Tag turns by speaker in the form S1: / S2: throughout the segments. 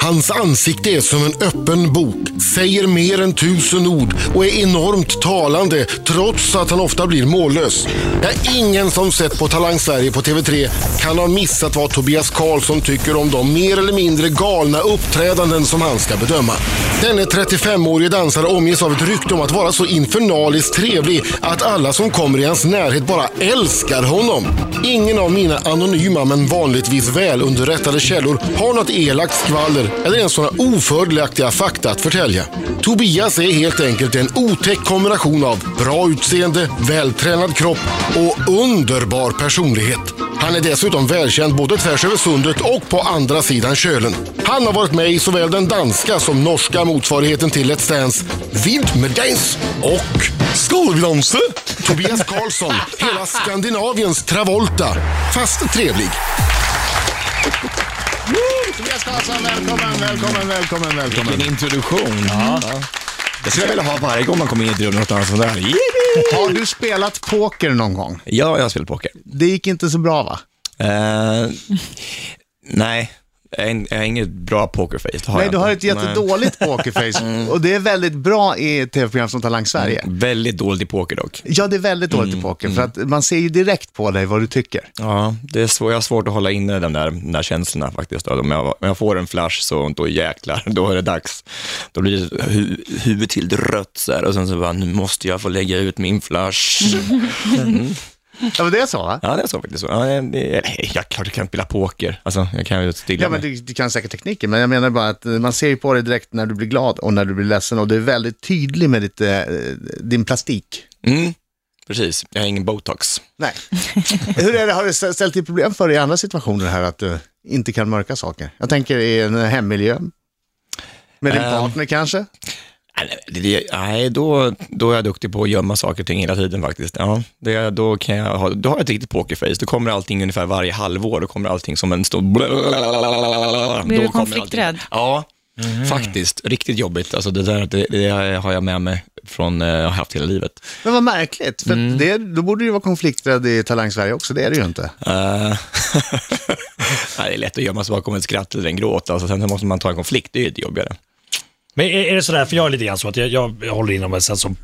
S1: Hans ansikte är som en öppen bok, säger mer än tusen ord och är enormt talande trots att han ofta blir mållös. Ja, ingen som sett på Talang Sverige på TV3 kan ha missat vad Tobias Karlsson tycker om de mer eller mindre galna uppträdanden som han ska bedöma. Denne 35-årige dansare omges av ett rykte om att vara så infernaliskt trevlig att alla som kommer i hans närhet bara älskar honom. Ingen av mina anonyma men vanligtvis välunderrättade källor har något elakt skvaller eller ens sådana ofördelaktiga fakta att förtälja. Tobias är helt enkelt en otäck kombination av bra utseende, vältränad kropp och underbar personlighet. Han är dessutom välkänd både tvärs över sundet och på andra sidan kölen. Han har varit med i såväl den danska som norska motsvarigheten till Let's Dance, Vild med Dance och Skoldanse. Tobias Karlsson, hela Skandinaviens Travolta, fast trevlig.
S2: Tobias Karlsson, välkommen, välkommen, välkommen, välkommen.
S3: Vilken introduktion. Ja. Det skulle jag vilja ha varje gång man kommer in i ett rum. Något annat sånt där. Yippee!
S2: Har du spelat poker någon gång?
S3: Ja, jag har spelat poker.
S2: Det gick inte så bra va?
S3: Eh, nej, jag är in- jag har inget bra pokerface. det Har
S2: Nej,
S3: jag
S2: du har ett
S3: inte. Mm.
S2: jättedåligt pokerface och det är väldigt bra i ett tv-program som Talang Sverige.
S3: Nej. Väldigt dåligt i poker dock.
S2: Ja, det är väldigt dåligt
S3: Mm.
S2: i poker för att man ser ju direkt på dig vad du tycker.
S3: Ja, det är svår, jag har svårt att hålla inne de där, de där känslorna faktiskt. då. Om jag, om jag får en flash så då jäklar, då är det dags. Då blir det hu, huvudet till rött så här, och sen så bara, nu måste jag få lägga ut min flash.
S2: Ja, men det är så va?
S3: ja, det är så faktiskt. Så. Ja, det, eller, jag klart jag kan spela poker. Alltså, jag kan ju stilla
S2: Ja, men
S3: mig.
S2: du, du kan säkert tekniken, men jag menar bara att eh, man ser ju på dig direkt när du blir glad och när du blir ledsen och du är väldigt tydlig med ditt, eh, din plastik.
S3: Mm, precis, jag har ingen botox.
S2: Nej. Hur är det, har det stä- ställt till problem för dig i andra situationer här att du inte kan mörka saker? Jag tänker i en eh, hemmiljö. Med din
S3: Ehm.
S2: partner kanske?
S3: Nej, det- det- Nej, då, då är jag duktig på att gömma saker och ting hela tiden faktiskt. Ja, det, då, kan jag ha, då har jag ett riktigt pokerface. Då kommer allting ungefär varje halvår. Då kommer allting som en stor...
S4: Blir
S3: Då
S4: du
S3: kommer
S4: konflikträdd?
S3: allting. Ja, faktiskt. Riktigt jobbigt. Alltså det, där, det, det har jag med mig från, eh, jag har haft hela livet.
S2: Men vad märkligt, för det, då borde du ju vara konflikträdd i Talang Sverige också, det är det ju inte.
S3: Eh, nej, det är lätt att gömma sig bakom ett skratt eller en gråt. Alltså, sen måste man ta en konflikt, det är ju lite jobbigare.
S5: Men är, är det sådär, för jag är lite grann så att jag, jag, jag håller inom mig sen så,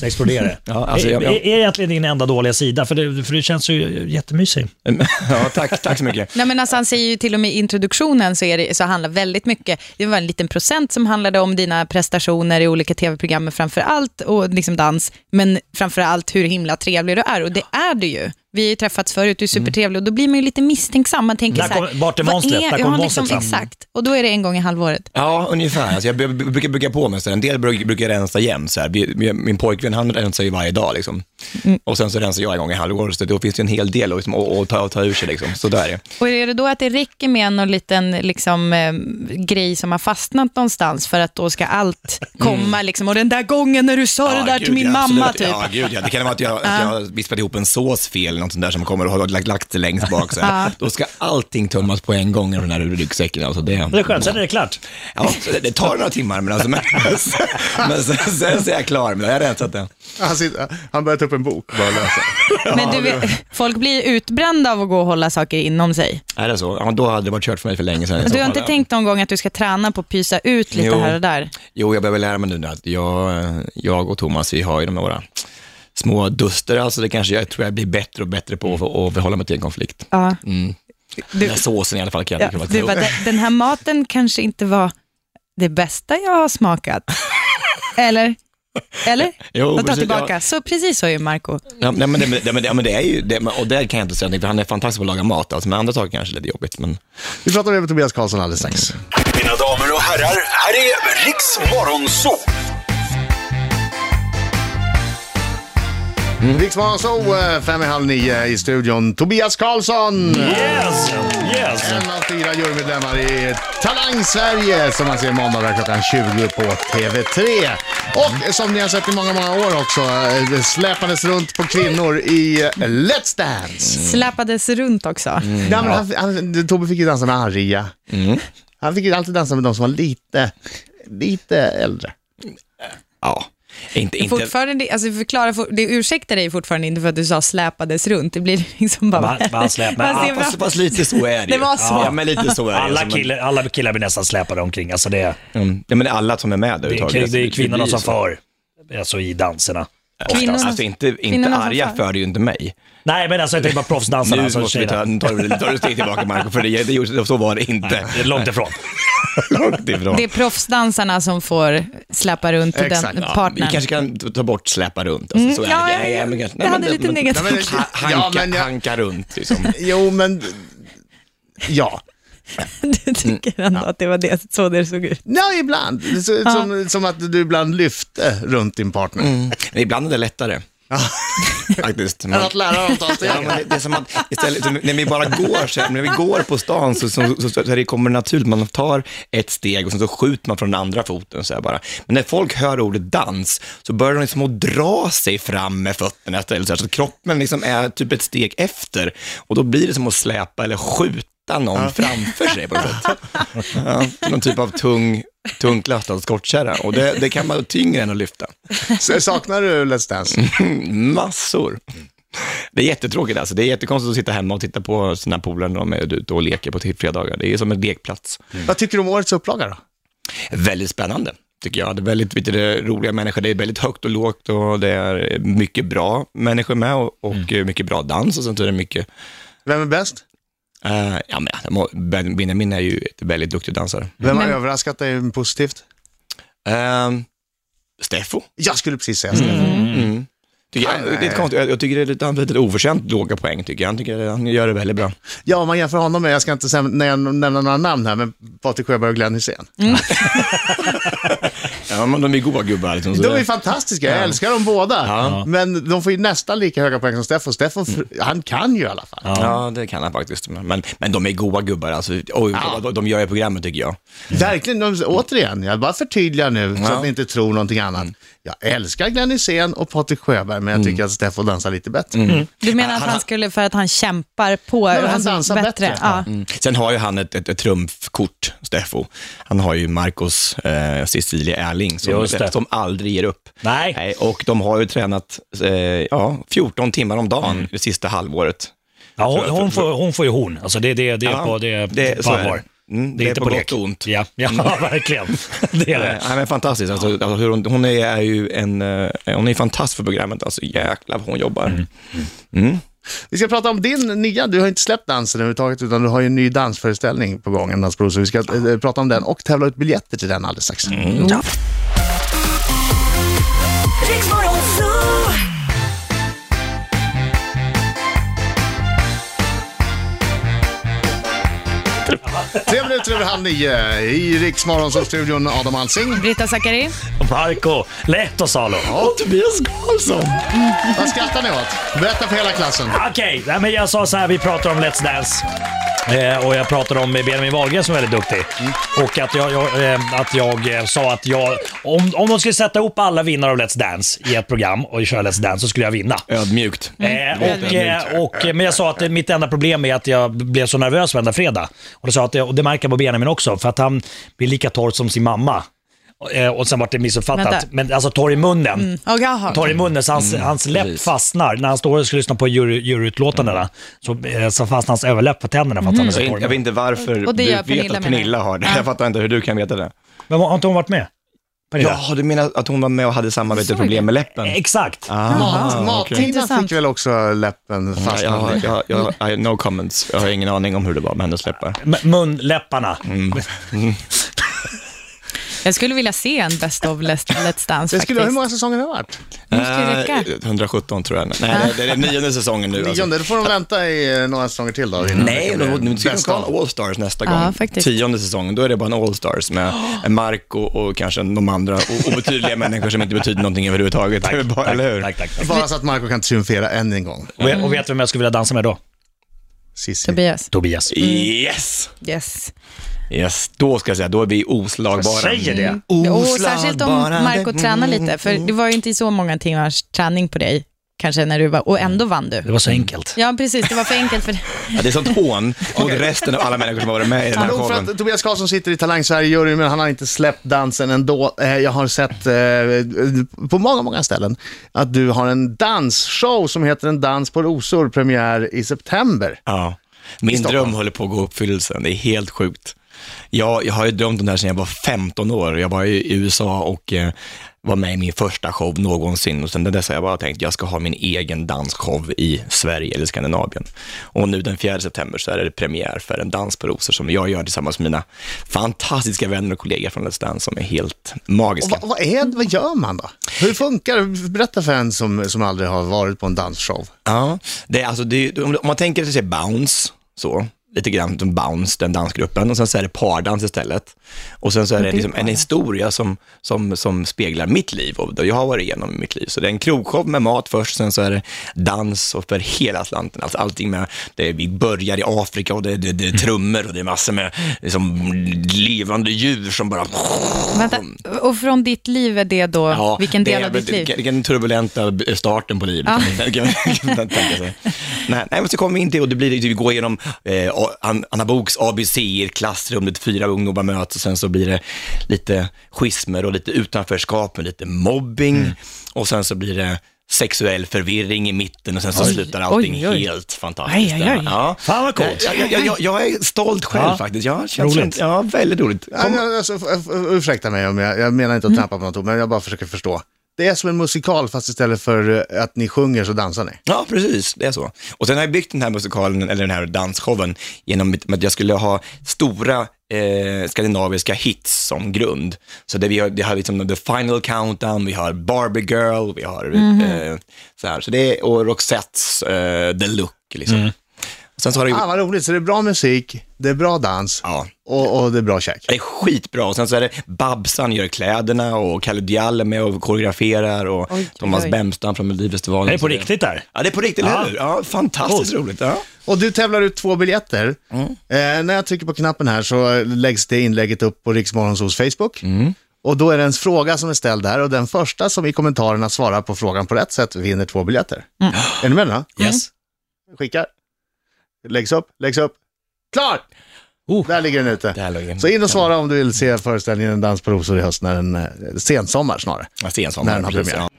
S5: så exploderar det.
S3: Ja, alltså,
S5: är,
S3: jag- jag-
S5: är, är det egentligen din enda dåliga sida? För det, för det känns ju jättemysig.
S3: ja, tack, tack så mycket.
S4: Nej, men alltså, han säger ju till och med i introduktionen så, är det, så handlar väldigt mycket, det var en liten procent som handlade om dina prestationer i olika tv-program men framför allt, och liksom dans, men framför allt hur himla trevlig du är och det är du ju. Vi har ju träffats förut, du är supertrevlig och då blir man ju lite misstänksam. Man tänker
S5: Mm. Där
S4: så här,
S5: kommer- vart är
S4: vad
S5: monstret? Där
S4: ja,
S5: kommer
S4: liksom,
S5: monstret fram.
S4: Exakt, och då är det en gång i halvåret.
S3: Ja, ungefär. Alltså jag b- b- brukar bygga på mig. Så här. en del bruk- brukar rensa jämt. Så här. Vi- vi- Min pojkvän han rensar ju varje dag. Liksom.
S4: Mm.
S3: Och sen så rensar jag en gång i halvåret, så då finns det en hel del att liksom, att- att ta, att ta ur sig. Liksom. Så där är det.
S4: Och är det då att det räcker med någon liten liksom, eh, grej som har fastnat någonstans för att då ska allt
S5: Mm.
S4: komma liksom, och den där gången när du sa det
S3: Ja,
S4: där
S3: gud,
S4: till min
S3: ja,
S4: mamma
S3: absolut.
S4: typ.
S3: Ja, gud ja. Det kan vara att jag, att jag vispade ihop en sås fel, eller något sånt där som kommer och har lagt, lagt det längst bak. Så här. Då ska allting tömmas på en gång i den här ryggsäcken. Alltså det,
S5: Det är skönt, sen är det klart.
S3: ja, så det, det tar några timmar, men, alltså, men, men sen, sen så är jag klar. Men jag har rensat det.
S2: Han, sitter, han börjar ta upp en bok bara och läsa.
S4: Men du vet, folk blir utbrända av att gå och hålla saker inom sig. Alltså,
S3: Är det så? Ja, då hade det varit kört för mig för länge sedan. i så
S4: Du har inte
S3: fall.
S4: tänkt någon gång att du ska träna på att pysa ut lite
S3: Jo.
S4: här och där?
S3: Jo, jag behöver lära mig nu nu att jag, jag och Thomas, vi har ju de här våra små duster, alltså det kanske jag tror jag blir bättre och bättre på att att förhålla mig till en konflikt.
S4: Ja.
S3: Den här såsen i alla fall Mm, kan
S4: Ja,
S3: jag inte
S4: du bara,
S3: ja,
S4: "Den- den här maten kanske inte var det bästa jag har smakat. Eller? Eller?
S3: Jo,
S4: jag tar
S3: precis, Mm.
S4: tillbaka. Så precis så är ju Marco.
S3: ja, nej, men, det, men det- men, det, men det är ju, det, men- och där kan jag inte säga någonting, för han är fantastisk på att laga mat, alltså, men andra saker kanske är lite jobbigt. Men...
S2: Vi pratar med Tobias Karlsson alldeles strax.
S6: Mina damer och herrar, här är Riks Morgonzoo!
S2: Riksmorgon så Mm. eh, fem i halv nio i studion. Tobias Karlsson!
S5: Yes, yes.
S2: En av fyra jurymedlemmar i Talang Sverige som man ser måndagar klockan 20 på TV3. Och som ni har sett i många, många år också, eh, det släpades runt på kvinnor i eh, Let's Dance.
S4: Släpades runt också.
S3: Mm.
S2: Nej, men han, han, Tobbe fick ju dansa med Arja. Han fick ju alltid dansa med de som var lite, lite äldre.
S3: Ja. Inte, inte,
S4: Fortfarande, alltså förklara, for- det ursäktar dig fortfarande inte för att du sa släpades runt. Det blir liksom bara...
S5: Man- man släpar-
S4: Man ser
S5: Ja,
S3: Fast,
S4: fram-
S3: fast lite så är det ju.
S4: Det var så.
S3: Ja, men lite så är det.
S5: Alla,
S3: Alltså, man-
S5: kille, alla killar blir nästan släpade omkring. Alltså det,
S3: Mm. Ja, men det är alla som är med
S5: det,
S3: överhuvudtaget. Alltså,
S5: är, det är kvinnorna
S3: blir
S5: som
S3: så.
S5: för, alltså i danserna.
S4: Kvinnorna-
S3: Alltså inte, inte
S4: kvinnorna som
S3: arga
S4: för.
S3: för det ju inte mig.
S5: Nej, men alltså jag tänker bara proffsdansarna.
S3: Nu
S5: Alltså,
S3: måste vi ta,
S5: tjejerna.
S3: nu tar du- tar du ett steg tillbaka Marco, för det, det, gjorde- så var det inte.
S5: Det är långt ifrån.
S3: Långt ifrån.
S4: Det är proffsdansarna som får släpa runt
S2: Exakt,
S4: den
S3: Ja, Vi
S4: partnern.
S3: kanske kan ta bort släpa runt. Alltså, så är
S4: Mm, ja, ja,
S3: det.
S4: ja.
S3: men kanske-
S4: Det hade lite negativt.
S2: Nej, men-
S3: Ha- Hanka,
S2: Ja, men jag-
S3: hanka runt liksom.
S2: Jo, men... Ja.
S4: Du tycker ändå att det var det, så det såg ut.
S2: Ja, ibland. Det ser ut Som, som att du ibland lyfte runt din partner.
S3: Men ibland är det lättare. Faktiskt. Man-
S2: Än att lära dem att ta steg.
S3: Ja, men det- det är som att istället, när vi bara går, så här, när vi går på stan så, så, så, så, så det kommer det naturligt, man tar ett steg och sen så skjuter man från den andra foten så här bara. Men när folk hör ordet dans så börjar de liksom att dra sig fram med fötterna istället, så, här, så att kroppen liksom är typ ett steg efter och då blir det som att släpa eller skjuta någon framför sig på något sätt. Ja, någon typ av tung, tungt lastad skottkärra och det, det kan vara tyngre än att lyfta.
S2: S- Saknar du Let's Dance?
S3: Massor. Det är jättetråkigt alltså. Det är jättekonstigt att sitta hemma och titta på sina polare när de är ute och leker på till- fredagar. Det är som en lekplats.
S2: Vad tycker du om årets upplaga då?
S3: Väldigt spännande, tycker jag. Det är väldigt vet du, det är roliga människor. Det är väldigt högt och lågt och det är mycket bra människor med och, och eh, mycket bra dans och sånt. Är det mycket,
S2: Vem är bäst?
S3: eh, ja, men, jag må- Ben- Benjamin är ju ett väldigt duktig dansare.
S2: Vem har
S4: Men-
S2: överraskat dig positivt?
S3: Uh, Steffo.
S2: Jag skulle precis säga Stefan.
S3: Mm. Tycker jag,
S2: Han
S3: det är
S2: är-
S3: lite konstigt. Jag, jag tycker det är lite, han har lite oförtjänt låga poäng, tycker jag. Han, tycker, han gör det väldigt bra.
S2: Ja, om man jämför honom med, jag ska inte säm- nä- nämna några namn här, men Patrik Sjöberg och Glenn Hysén.
S3: Ja, men de är goa gubbar. Liksom, så
S2: De
S3: det-
S2: är fantastiska, jag älskar dem båda. Men de får ju nästan lika höga poäng som Steffo. Steffo, fr- han kan ju i alla fall.
S3: Ja, det kan han faktiskt. Men, men de är goa gubbar alltså. Oj, vad de gör i programmet tycker jag.
S2: Verkligen, de, återigen, jag bara förtydligar nu så
S3: Ja.
S2: att ni inte tror någonting annat. Jag älskar Glenn Hysén och Patrik Sjöberg, men jag tycker att Steffo dansar lite bättre.
S4: Du menar att han skulle, för att han kämpar på,
S2: men han
S4: alltså,
S2: dansar bättre.
S4: Ja.
S5: Mm.
S3: Sen har ju han ett, ett, ett trumfkort, Steffo. Han har ju Marcos eh, Cecilia Erling som,
S5: Just det.
S3: som aldrig ger upp.
S5: Nej.
S3: och de har ju tränat eh, ja, 14 timmar om dagen
S5: Mm.
S3: det sista halvåret.
S5: Ja, hon, hon, får, hon får ju horn. Alltså det, det, det är
S3: Ja,
S5: på, det,
S3: det-
S5: det,
S3: så
S5: på
S3: är det.
S5: allvar.
S3: Mm, det är på gott och ont. Mm.
S5: Ja, ja verkligen. Det är det.
S3: Nej, men fantastiskt. Alltså, alltså, hur hon, hon är ju en, eh, hon är fantastisk för programmet. Alltså, jäklar vad hon jobbar.
S5: Mm.
S2: Vi ska prata om din nya, du har inte släppt dansen överhuvudtaget, utan du har ju en ny dansföreställning på gång, en dansprov, så vi ska eh, prata om den och tävla ut biljetter till den alldeles strax.
S3: Mm.
S7: Riksmorgon Zoo.
S2: Tre minuter över halv nio i Riksmorgonstudion, Adam Alsing.
S4: Brita Zackari,
S5: Marco Lehtosalo.
S3: Ja, Tobias Karlsson.
S2: Vad skrattar ni åt? Berätta för hela klassen.
S5: Okej, nej, men jag sa så här, vi pratar om Let's Dance. Eh, och jag pratade om Benjamin Wahlgren som är väldigt duktig. Och att jag, jag, eh, att jag eh, sa att jag, om, om de skulle sätta ihop alla vinnare av Let's Dance i ett program och köra Let's Dance så skulle jag vinna.
S3: Ödmjukt.
S5: Eh, och, eh, och, eh, men jag sa att eh, mitt enda problem är att jag blev så nervös varenda fredag. Och det, sa att, och det märker jag på Benjamin också, för att han blir lika torr som sin mamma. Och, eh, Och sen vart det missuppfattat.
S4: Vänta.
S5: Men alltså torr i munnen.
S4: och jaha.
S5: Torr i munnen, så hans, hans läpp
S3: Mm, precis.
S5: fastnar. När han står och ska lyssna på jury- juryutlåtandena så, eh, så fastnar hans överläpp på tänderna för att han är så
S3: Mm. Jag,
S5: torr. i
S3: vet- jag vet
S5: munnen.
S3: inte varför
S4: Och det
S3: du
S4: gör
S3: vet
S4: Pernilla,
S3: att
S4: menar
S3: Pernilla
S4: jag.
S3: har det.
S4: Ja.
S3: Jag fattar inte hur du kan veta det.
S5: Men har inte hon varit med? Pernilla? Eh,
S3: Ja, du menar att hon var med och hade samma problem med läppen?
S5: Exakt.
S2: Mat, Mattina
S4: Intressant.
S2: fick väl också läppen fast.
S3: Jag, har- jag, jag, jag, no comments. Jag har ingen aning om hur det var med hennes läppar.
S5: M- munläpparna.
S3: Mm.
S4: Jag skulle vilja se en Best of Let's Let's Dance
S2: Det skulle, hur
S4: faktiskt.
S2: många säsonger har det varit?
S4: måste ju
S3: Eh,
S4: räcka.
S3: 117 tror jag. Nej, det är den nionde säsongen nu. Alltså.
S2: Nionde, då får de vänta i eh, några säsonger till då. innan det
S3: Nej,
S2: kan
S3: då,
S2: bli
S3: nu ska vi
S2: bäst
S3: ha
S2: av.
S3: en All-Stars nästa
S4: Ja,
S3: gång.
S4: faktiskt.
S3: Tionde säsongen, då är det bara en All-Stars med Marco och kanske de andra o- obetydliga människor som inte betyder någonting överhuvudtaget. Det är väl bara- Eller hur? Mm.
S5: Tack, tack, tack.
S2: Bara så att Marco kan triumfera än en gång.
S5: Och, och vet du vem jag skulle vilja dansa med då?
S2: Cissi.
S4: Tobias.
S5: Tobias.
S3: Yes!
S4: Yes.
S3: Yes, då ska jag säga, då är vi oslagbara.
S5: Jag säger det.
S4: Och särskilt om Marco tränar lite, för det var ju inte så många timmars träning på dig kanske när du var, och ändå vann du.
S5: Det var så enkelt.
S4: Ja, precis. Det var för enkelt för
S3: Ja, det är sånt hån mot resten av alla människor som har varit med i den här
S2: Nog för
S3: showen.
S2: att Tobias Karlsson sitter i Talang Sverige-juryn, men han har inte släppt dansen ändå. Eh, Jag har sett eh, på många, många ställen att du har en dansshow som heter En dans på rosor, premiär i september.
S3: Ja. Min dröm håller på att gå i uppfyllelsen, det är helt sjukt. Jag, jag har ju drömt om det här sedan jag var 15 år. Jag var i USA och eh, var med i min första show någonsin och sen dess har jag bara tänkt jag ska ha min egen dansshow i Sverige eller Skandinavien. Och nu den 4 september så är det premiär för en dans på rosor som jag gör tillsammans med mina fantastiska vänner och kollegor från Let's Dance som är helt
S2: Och
S3: magiska.
S2: vad, vad, är, vad gör man då? Hur funkar det? Berätta för en som, som aldrig har varit på en dansshow.
S3: Ja, det är alltså, det är, om om man tänker sig Bounce, så, lite grann som Bounce, den dansgruppen, och sen så är det pardans istället. Och sen så är det liksom en historia som, som, som speglar mitt liv och det jag har varit igenom i mitt liv. Så det är en krogshow med mat först, sen så är det dans och för hela Atlanten, alltså allting med, det är, vi börjar i Afrika och det, det, det är trummor och det är massor med liksom, levande djur som bara
S4: Vänta, och från ditt liv är det då, vilken del
S3: det är
S4: av ditt
S3: väl-
S4: liv?
S3: Vilken turbulenta b- starten på livet. kan man- kan man tänka sig. nej, nej, men så kommer vi in till, och det blir, typ, vi går igenom eh, A- An- Anna Boks ABC i ett klassrum, där fyra ungdomar möts och sen så blir det lite schismer och lite utanförskap med lite mobbing
S4: Mm.
S3: och sen så blir det sexuell förvirring i mitten och sen så slutar allting
S4: oj, oj.
S3: helt fantastiskt.
S4: Aj, aj, aj.
S3: Ja.
S5: Fan, vad coolt.
S3: Jag, jag, jag, jag är stolt själv
S5: Ja.
S3: faktiskt. Jag känns
S5: Roligt.
S3: Ja, väldigt roligt.
S2: Ja, men Alltså, f- f- ursäkta mig om jag, jag menar inte att trampa på något, men jag bara försöker förstå. Det är som en musikal fast istället för eh, att ni sjunger så dansar ni.
S3: Ja, precis. Det är så. Och sen har jag byggt den här musikalen, eller den här dansshowen, genom mitt- att jag skulle ha stora eh, skandinaviska hits som grund. Så det, vi har, det har liksom The Final Countdown, vi har Barbie Girl, vi har
S4: Mhm.
S3: eh, så här. Så det är, och Roxettes eh, The Look, liksom.
S5: Mm.
S3: Sen så har det,
S2: Ah, vad roligt, så det är bra musik, det är bra dans
S3: ja.
S2: och, och det är bra käk.
S3: Det är skitbra. Och sen så är det Babsan gör kläderna och Kalle Diall är med och koreograferar och
S4: Oj,
S3: Thomas
S4: oj.
S3: Bemstam från Melodifestivalen.
S5: Det är på
S3: Så
S5: riktigt där.
S3: Ja, det är på riktigt,
S5: Ja.
S3: eller hur? Ja, fantastiskt
S5: Coolt.
S3: roligt. Ja.
S2: Och du tävlar ut två biljetter. Eh, när jag trycker på knappen här så läggs det inlägget upp på Riksmorgonsols Facebook. Och då är det en fråga som är ställd där och den första som i kommentarerna svarar på frågan på rätt sätt vinner två biljetter. Är ni med då?
S5: Yes.
S2: Skickar. Läggs upp, läggs upp. Klar!
S5: Oh.
S2: Där ligger den ute.
S3: Där låg den.
S2: Så in och svara om du vill se föreställningen En dans på rosor i höst, när den, eh, sensommar snarare.
S3: Ja, sensommaren,
S2: När den har
S3: precis,
S2: premiär.
S3: ja.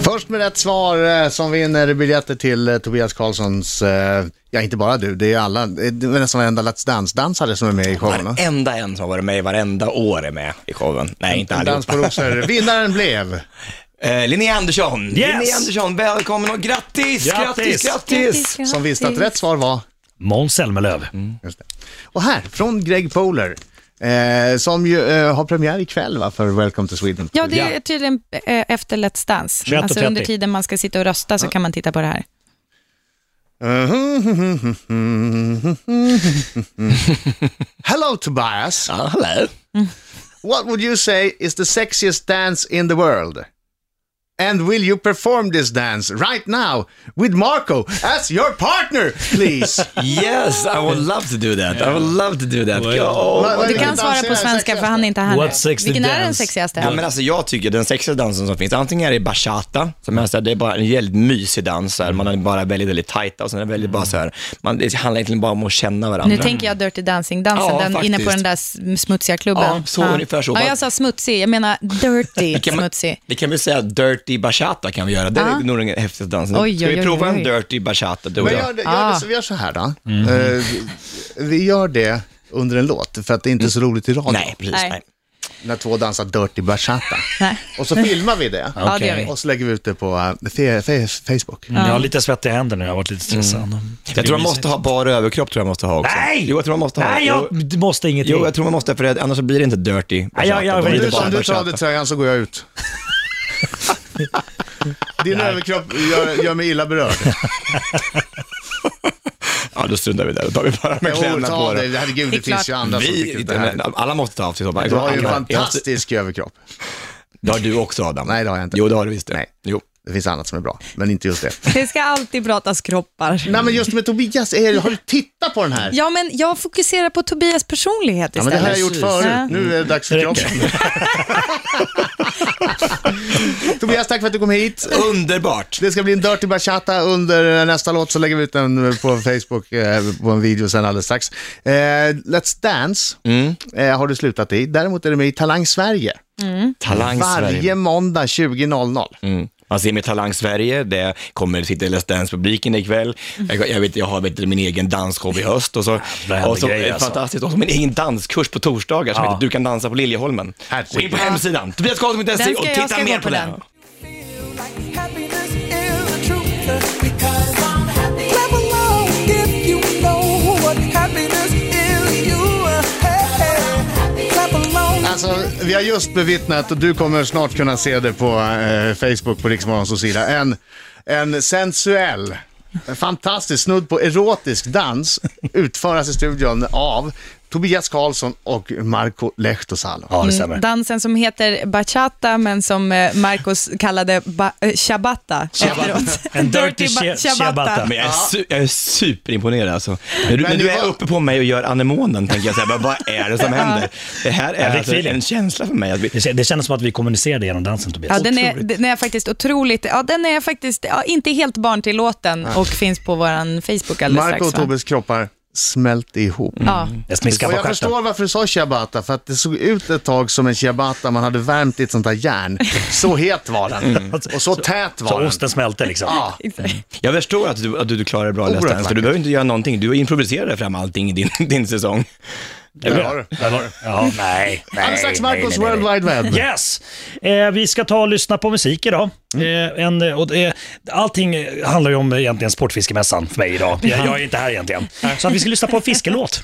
S2: Först med rätt svar eh, som vinner biljetter till eh, Tobias Karlssons, eh, ja inte bara du, det är alla, det är nästan varenda Let's Dance-dansare som är med i showen. va?
S3: Varenda en som har varit med i varenda år är med i showen. Nej, inte
S2: En dans på
S3: allihopa.
S2: rosor. Vinnaren blev...
S3: Eh, Linnea Andersson! Linnea Andersson, välkommen och grattis! Grattis,
S5: Grattis!
S3: grattis!
S2: som visste att rätt svar var...
S5: Måns Zelmerlöw.
S3: Mm.
S2: Just det. Och här, från Greg Poler, eh, som ju eh, har premiär ikväll va, för Welcome to Sweden.
S4: Ja, det är tydligen eh, efter Let's Dance.
S5: 21.30.
S4: Alltså under tiden man ska sitta och rösta så kan man titta på det här.
S2: Uh-huh. Hello Tobias!
S3: Ja, hallå.
S2: What would you say is the sexiest dance in the world? And will you perform this dance right now with Marco as your partner, please?
S3: Yes, I would love to do that. I would love to do that.
S5: Well.
S3: Ja.
S2: Vad- vad
S4: Du
S2: är
S4: kan
S2: det
S4: svara
S2: dansen
S4: på
S2: är
S4: svenska för
S2: sexigaste?
S4: han är inte här.
S5: What's sexy
S4: Vilken är den
S5: dance?
S4: sexigaste?
S3: Ja, men alltså jag tycker den sexigaste dansen som finns, antingen är det bachata, som är, så här, det är bara en väldigt mysig dans, så här, man är bara väldigt, väldigt tajta och sen är det väldigt bara så här, man, det handlar egentligen bara om att känna varandra.
S4: Nu tänker jag Dirty Dancing-dansen,
S3: Ja,
S4: den inne på
S3: faktiskt.
S4: den där sm- smutsiga klubben.
S3: Ja, så ungefär så.
S4: Ja, jag sa smutsig, jag menar dirty
S3: kan man-
S4: smutsig.
S3: Vi kan väl säga dirty bachata kan vi göra, det är
S4: Ja.
S3: nog den häftigaste dansen.
S4: Oj,
S3: Ska
S4: oj,
S3: vi
S4: oj,
S3: prova
S4: oj.
S3: en dirty bachata du och
S2: Men
S3: jag?
S2: gör, det- gör
S4: Ah.
S2: det, så vi gör så här då. Eh, vi- vi gör det under en låt, för att det är inte så roligt i radio
S3: Nej, precis.
S4: Nej.
S3: Nej.
S2: när två dansar dirty bachata.
S4: Nej.
S2: Och så filmar vi det.
S4: Ja, det gör vi.
S2: Och så lägger vi ut det på eh, fe- fe- Facebook.
S5: Jag har lite svettiga händer nu, jag har varit lite stressad.
S3: Mm. Jag tror man måste ha bara överkropp tror jag man måste ha också.
S5: Nej!
S3: Jo, jag tror man måste ha.
S5: Nej,
S3: Jo,
S5: jag du måste ingenting.
S3: jo, jag tror man måste för det, annars så blir det inte dirty.
S5: Nej, jag- jag
S3: Då blir
S5: vet
S3: det
S2: Du,
S5: inte.
S3: bara
S2: om du tar av
S3: bachata.
S2: dig tröjan så går jag ut. Din överkropp gör, gör mig illa berörd.
S3: Ja, då struntar vi där. Då tar vi bara med
S2: Jo,
S3: kläderna
S2: ta
S3: på
S2: det.
S3: det.
S2: det. Herregud,
S4: Det
S2: det,
S4: är
S2: finns ju
S4: klart.
S2: andra som tycker
S3: Vi,
S2: det här.
S3: men alla måste ta av sig så.
S2: Du har ju en
S3: Alla-
S2: fantastisk överkropp.
S3: Det har du också Adam.
S2: Nej, det har jag inte.
S3: Jo, det har du visst det.
S2: Nej.
S3: Jo.
S2: Det finns annat som är bra, men inte just det.
S4: Det ska alltid pratas kroppar.
S2: Nej, men just med Tobias, är, har du tittat på den här?
S4: Ja, men jag fokuserar på Tobias personlighet
S2: Ja, men
S4: istället.
S2: det här har jag gjort förut.
S3: Precis.
S4: Ja.
S2: Nu är det dags för kroppen. Tobias, tack för att du kom hit.
S3: Underbart!
S2: Det ska bli en Dirty Bachata under nästa låt, så lägger vi ut den på Facebook eh, på en video sen alldeles strax. Eh, Let's Dance
S3: Mm.
S2: eh, har du slutat i. Däremot är du med i Talang Sverige.
S3: Talang
S2: Varje
S3: Sverige.
S2: måndag 20.00.
S3: Mm. Man ser med Talang Sverige, det kommer sitta i Let's Dance-publiken ikväll. Jag, jag, vet, jag har vet, min egen dansshow i höst och så,
S5: händer
S3: och så
S5: grejer,
S3: eh,
S5: alltså.
S3: fantastiskt, och så min egen danskurs på torsdagar som
S5: Ja.
S3: heter Du kan dansa på Liljeholmen.
S2: Herregud.
S3: Gå in på hemsidan,
S4: Den
S3: tobiaskarlsson.se
S4: ska
S3: och
S4: jag- ska
S3: titta
S4: gå
S3: mer
S4: på
S3: på den.
S4: den.
S2: Alltså, vi har just bevittnat, och du kommer snart kunna se det på eh, Facebook på Riksmorgons sida, en, en sensuell, fantastisk, snudd på erotisk dans utföras i studion av Tobias Karlsson och Marco Lehtosalo.
S5: Ja, det stämmer.
S4: Dansen som heter bachata, men som eh, Marcos kallade ba- eh, ciabatta efteråt.
S5: En dirty
S4: ba-
S5: chia- ciabatta.
S3: Men jag är, su- jag är superimponerad alltså. Men du, men
S2: Men
S3: du
S2: det
S3: är
S2: var-
S3: uppe på mig och gör anemonen, tänker jag säga. Vad vad är det som händer? Det här
S5: Jag
S3: är
S5: fick
S3: alltså
S5: feeling.
S3: en känsla för mig. Att vi...
S5: Det, det kändes som att vi kommunicerade genom dansen, Tobias.
S4: Ja, den är,
S3: Otroligt.
S4: den är faktiskt otroligt, ja, den är faktiskt ja, inte helt barntillåten och finns på vår Facebook alldeles
S2: Marco och Mm.
S4: strax. va?
S2: Tobes kroppar smälte ihop.
S4: Ja.
S5: Jag smiskar
S2: Och
S5: på
S2: jag
S5: stjärten.
S2: förstår varför du sa ciabatta, för att det såg ut ett tag som en ciabatta man hade värmt i ett sånt där järn. Så het var den. Och så tät var
S5: Mm. Så
S2: den.
S5: osten smälte liksom.
S2: Ja.
S3: Jag förstår att du, att du klarar det bra
S2: Oerhört
S3: Let's Dance, för du
S2: vackert.
S3: behöver inte göra någonting. Du improviserar fram allting i din, din säsong.
S2: Där har du.
S5: Där var det. Ja, nej.
S2: Alldeles strax Marcos World
S5: nej.
S2: Wide Web.
S5: Yes! Eh, vi ska ta och lyssna på musik idag.
S2: Mm.
S5: Eh, en, eh, och, eh, allting eh, handlar ju om eh, egentligen Sportfiskemässan för mig idag. Jag, jag är inte här egentligen. Så att vi ska lyssna på en fiskelåt.